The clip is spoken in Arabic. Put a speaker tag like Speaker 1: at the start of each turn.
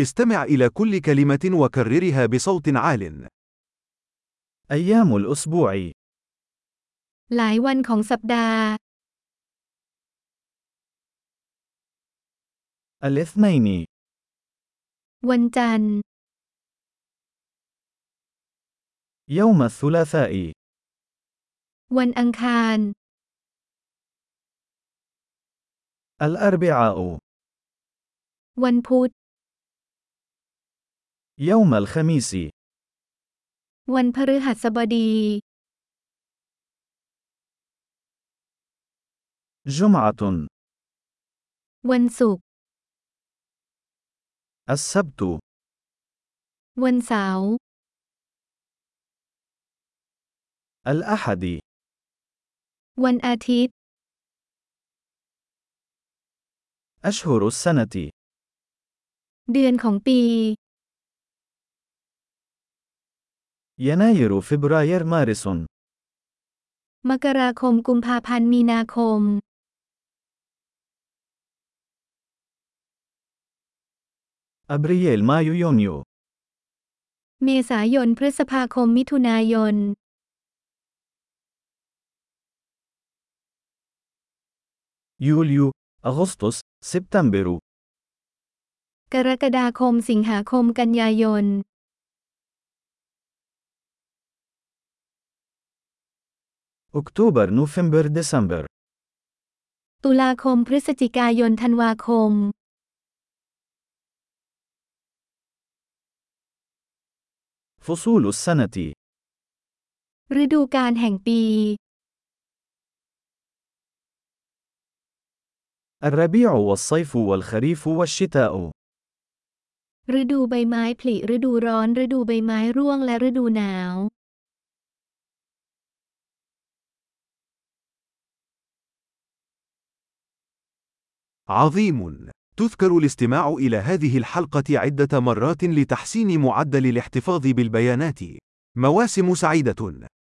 Speaker 1: استمع إلى كل كلمة وكررها بصوت عال.
Speaker 2: أيام الأسبوع
Speaker 3: หลายวันของสัปดาห์
Speaker 2: الاثنين
Speaker 3: วันจันทร์
Speaker 2: يوم الثلاثاء
Speaker 3: วันอังคาร
Speaker 2: الأربعاء
Speaker 3: วันพุธ
Speaker 2: يوم الخميس
Speaker 3: วันพฤหัสบดี
Speaker 2: جمعة
Speaker 3: วันศุกร์
Speaker 2: السبت
Speaker 3: วันเสาร์
Speaker 2: الأحد
Speaker 3: วันอาทิตย์
Speaker 2: أشهر السنة
Speaker 3: เดือนของปี
Speaker 2: يناير فبراير مارس
Speaker 3: มกราคมกุมภาพันธ์มีนาคม
Speaker 2: أبريل مايو يونيو
Speaker 3: เมษายนพฤษภาคมมิถุนายน
Speaker 2: يوليو أغسطس سبتمبر
Speaker 3: กรกฎาคมสิงหาคมกันยายน
Speaker 2: أكتوبر نوفمبر ديسمبر
Speaker 3: ตุลาคมพฤศจิกายนธันวาคม
Speaker 2: فصول السنة
Speaker 3: ฤดูกาลแห่งปี
Speaker 2: الربيع والصيف والخريف والشتاء
Speaker 3: ฤดูใบไม้ผลิฤดูร้อน ฤดูใบไม้ร่วงและฤดูหนาว
Speaker 1: عظيم! تذكر الاستماع إلى هذه الحلقة عدة مرات لتحسين معدل الاحتفاظ بالبيانات. مواسم سعيدة!